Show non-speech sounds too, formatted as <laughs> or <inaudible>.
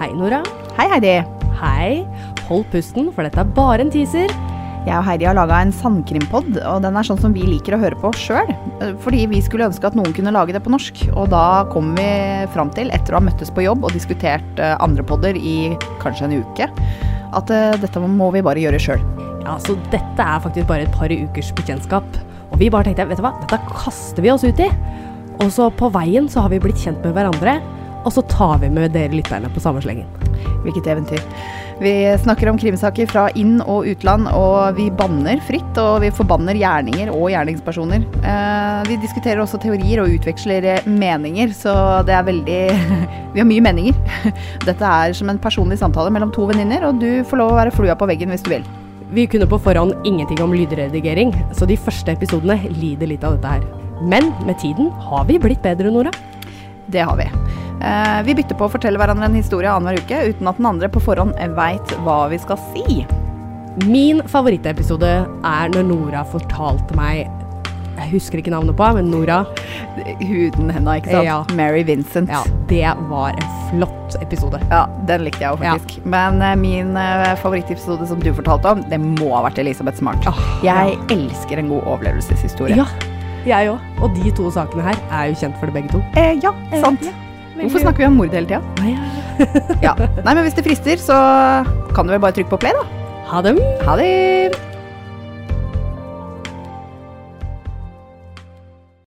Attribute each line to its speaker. Speaker 1: Hei, Nora.
Speaker 2: Hei, Heidi.
Speaker 1: Hei. Hold pusten, for dette er bare en teaser.
Speaker 2: Jeg og Heidi har laga en sandkrimpod, og den er sånn som vi liker å høre på sjøl. Fordi vi skulle ønske at noen kunne lage det på norsk. Og da kom vi fram til, etter å ha møttes på jobb og diskutert eh, andre podder i kanskje en uke, at eh, dette må vi bare gjøre sjøl.
Speaker 1: Ja, så dette er faktisk bare et par ukers bekjentskap. Og vi bare tenkte, vet du hva, dette kaster vi oss ut i. Og så på veien så har vi blitt kjent med hverandre, og så tar vi med dere lytterne på samme slengen.
Speaker 2: Hvilket eventyr. Vi snakker om krimsaker fra inn- og utland, og vi banner fritt. Og vi forbanner gjerninger og gjerningspersoner. Eh, vi diskuterer også teorier og utveksler eh, meninger, så det er veldig <laughs> Vi har mye meninger. <laughs> Dette er som en personlig samtale mellom to venninner, og du får lov å være flua på veggen hvis du vil.
Speaker 1: Vi kunne på forhånd ingenting om lydredigering, så de første episodene lider litt av dette her. Men med tiden har vi blitt bedre, Nora.
Speaker 2: Det har vi. Eh, vi bytter på å fortelle hverandre en historie annenhver uke uten at den andre på forhånd veit hva vi skal si.
Speaker 1: Min favorittepisode er når Nora fortalte meg Jeg husker ikke navnet på henne, men Nora.
Speaker 2: Huden henda, ikke sant?
Speaker 1: Ja.
Speaker 2: Mary Vincent.
Speaker 1: Ja, det var en flott episode.
Speaker 2: Ja, den likte jeg jo faktisk. Men eh, min eh, favorittepisode som du fortalte om, det må ha vært Elisabeth Smart.
Speaker 1: Åh,
Speaker 2: jeg elsker en god overlevelseshistorie.
Speaker 1: Ja, jeg òg. Og de to sakene her er jo kjent for det begge to.
Speaker 2: eh, ja sant. Hvorfor snakker vi om mord <laughs> hele tida?
Speaker 1: vi
Speaker 2: Ja. Nei, men hvis det frister, så kan du vel bare trykke på play, da.
Speaker 1: <laughs> Ha dem!
Speaker 2: Ha det!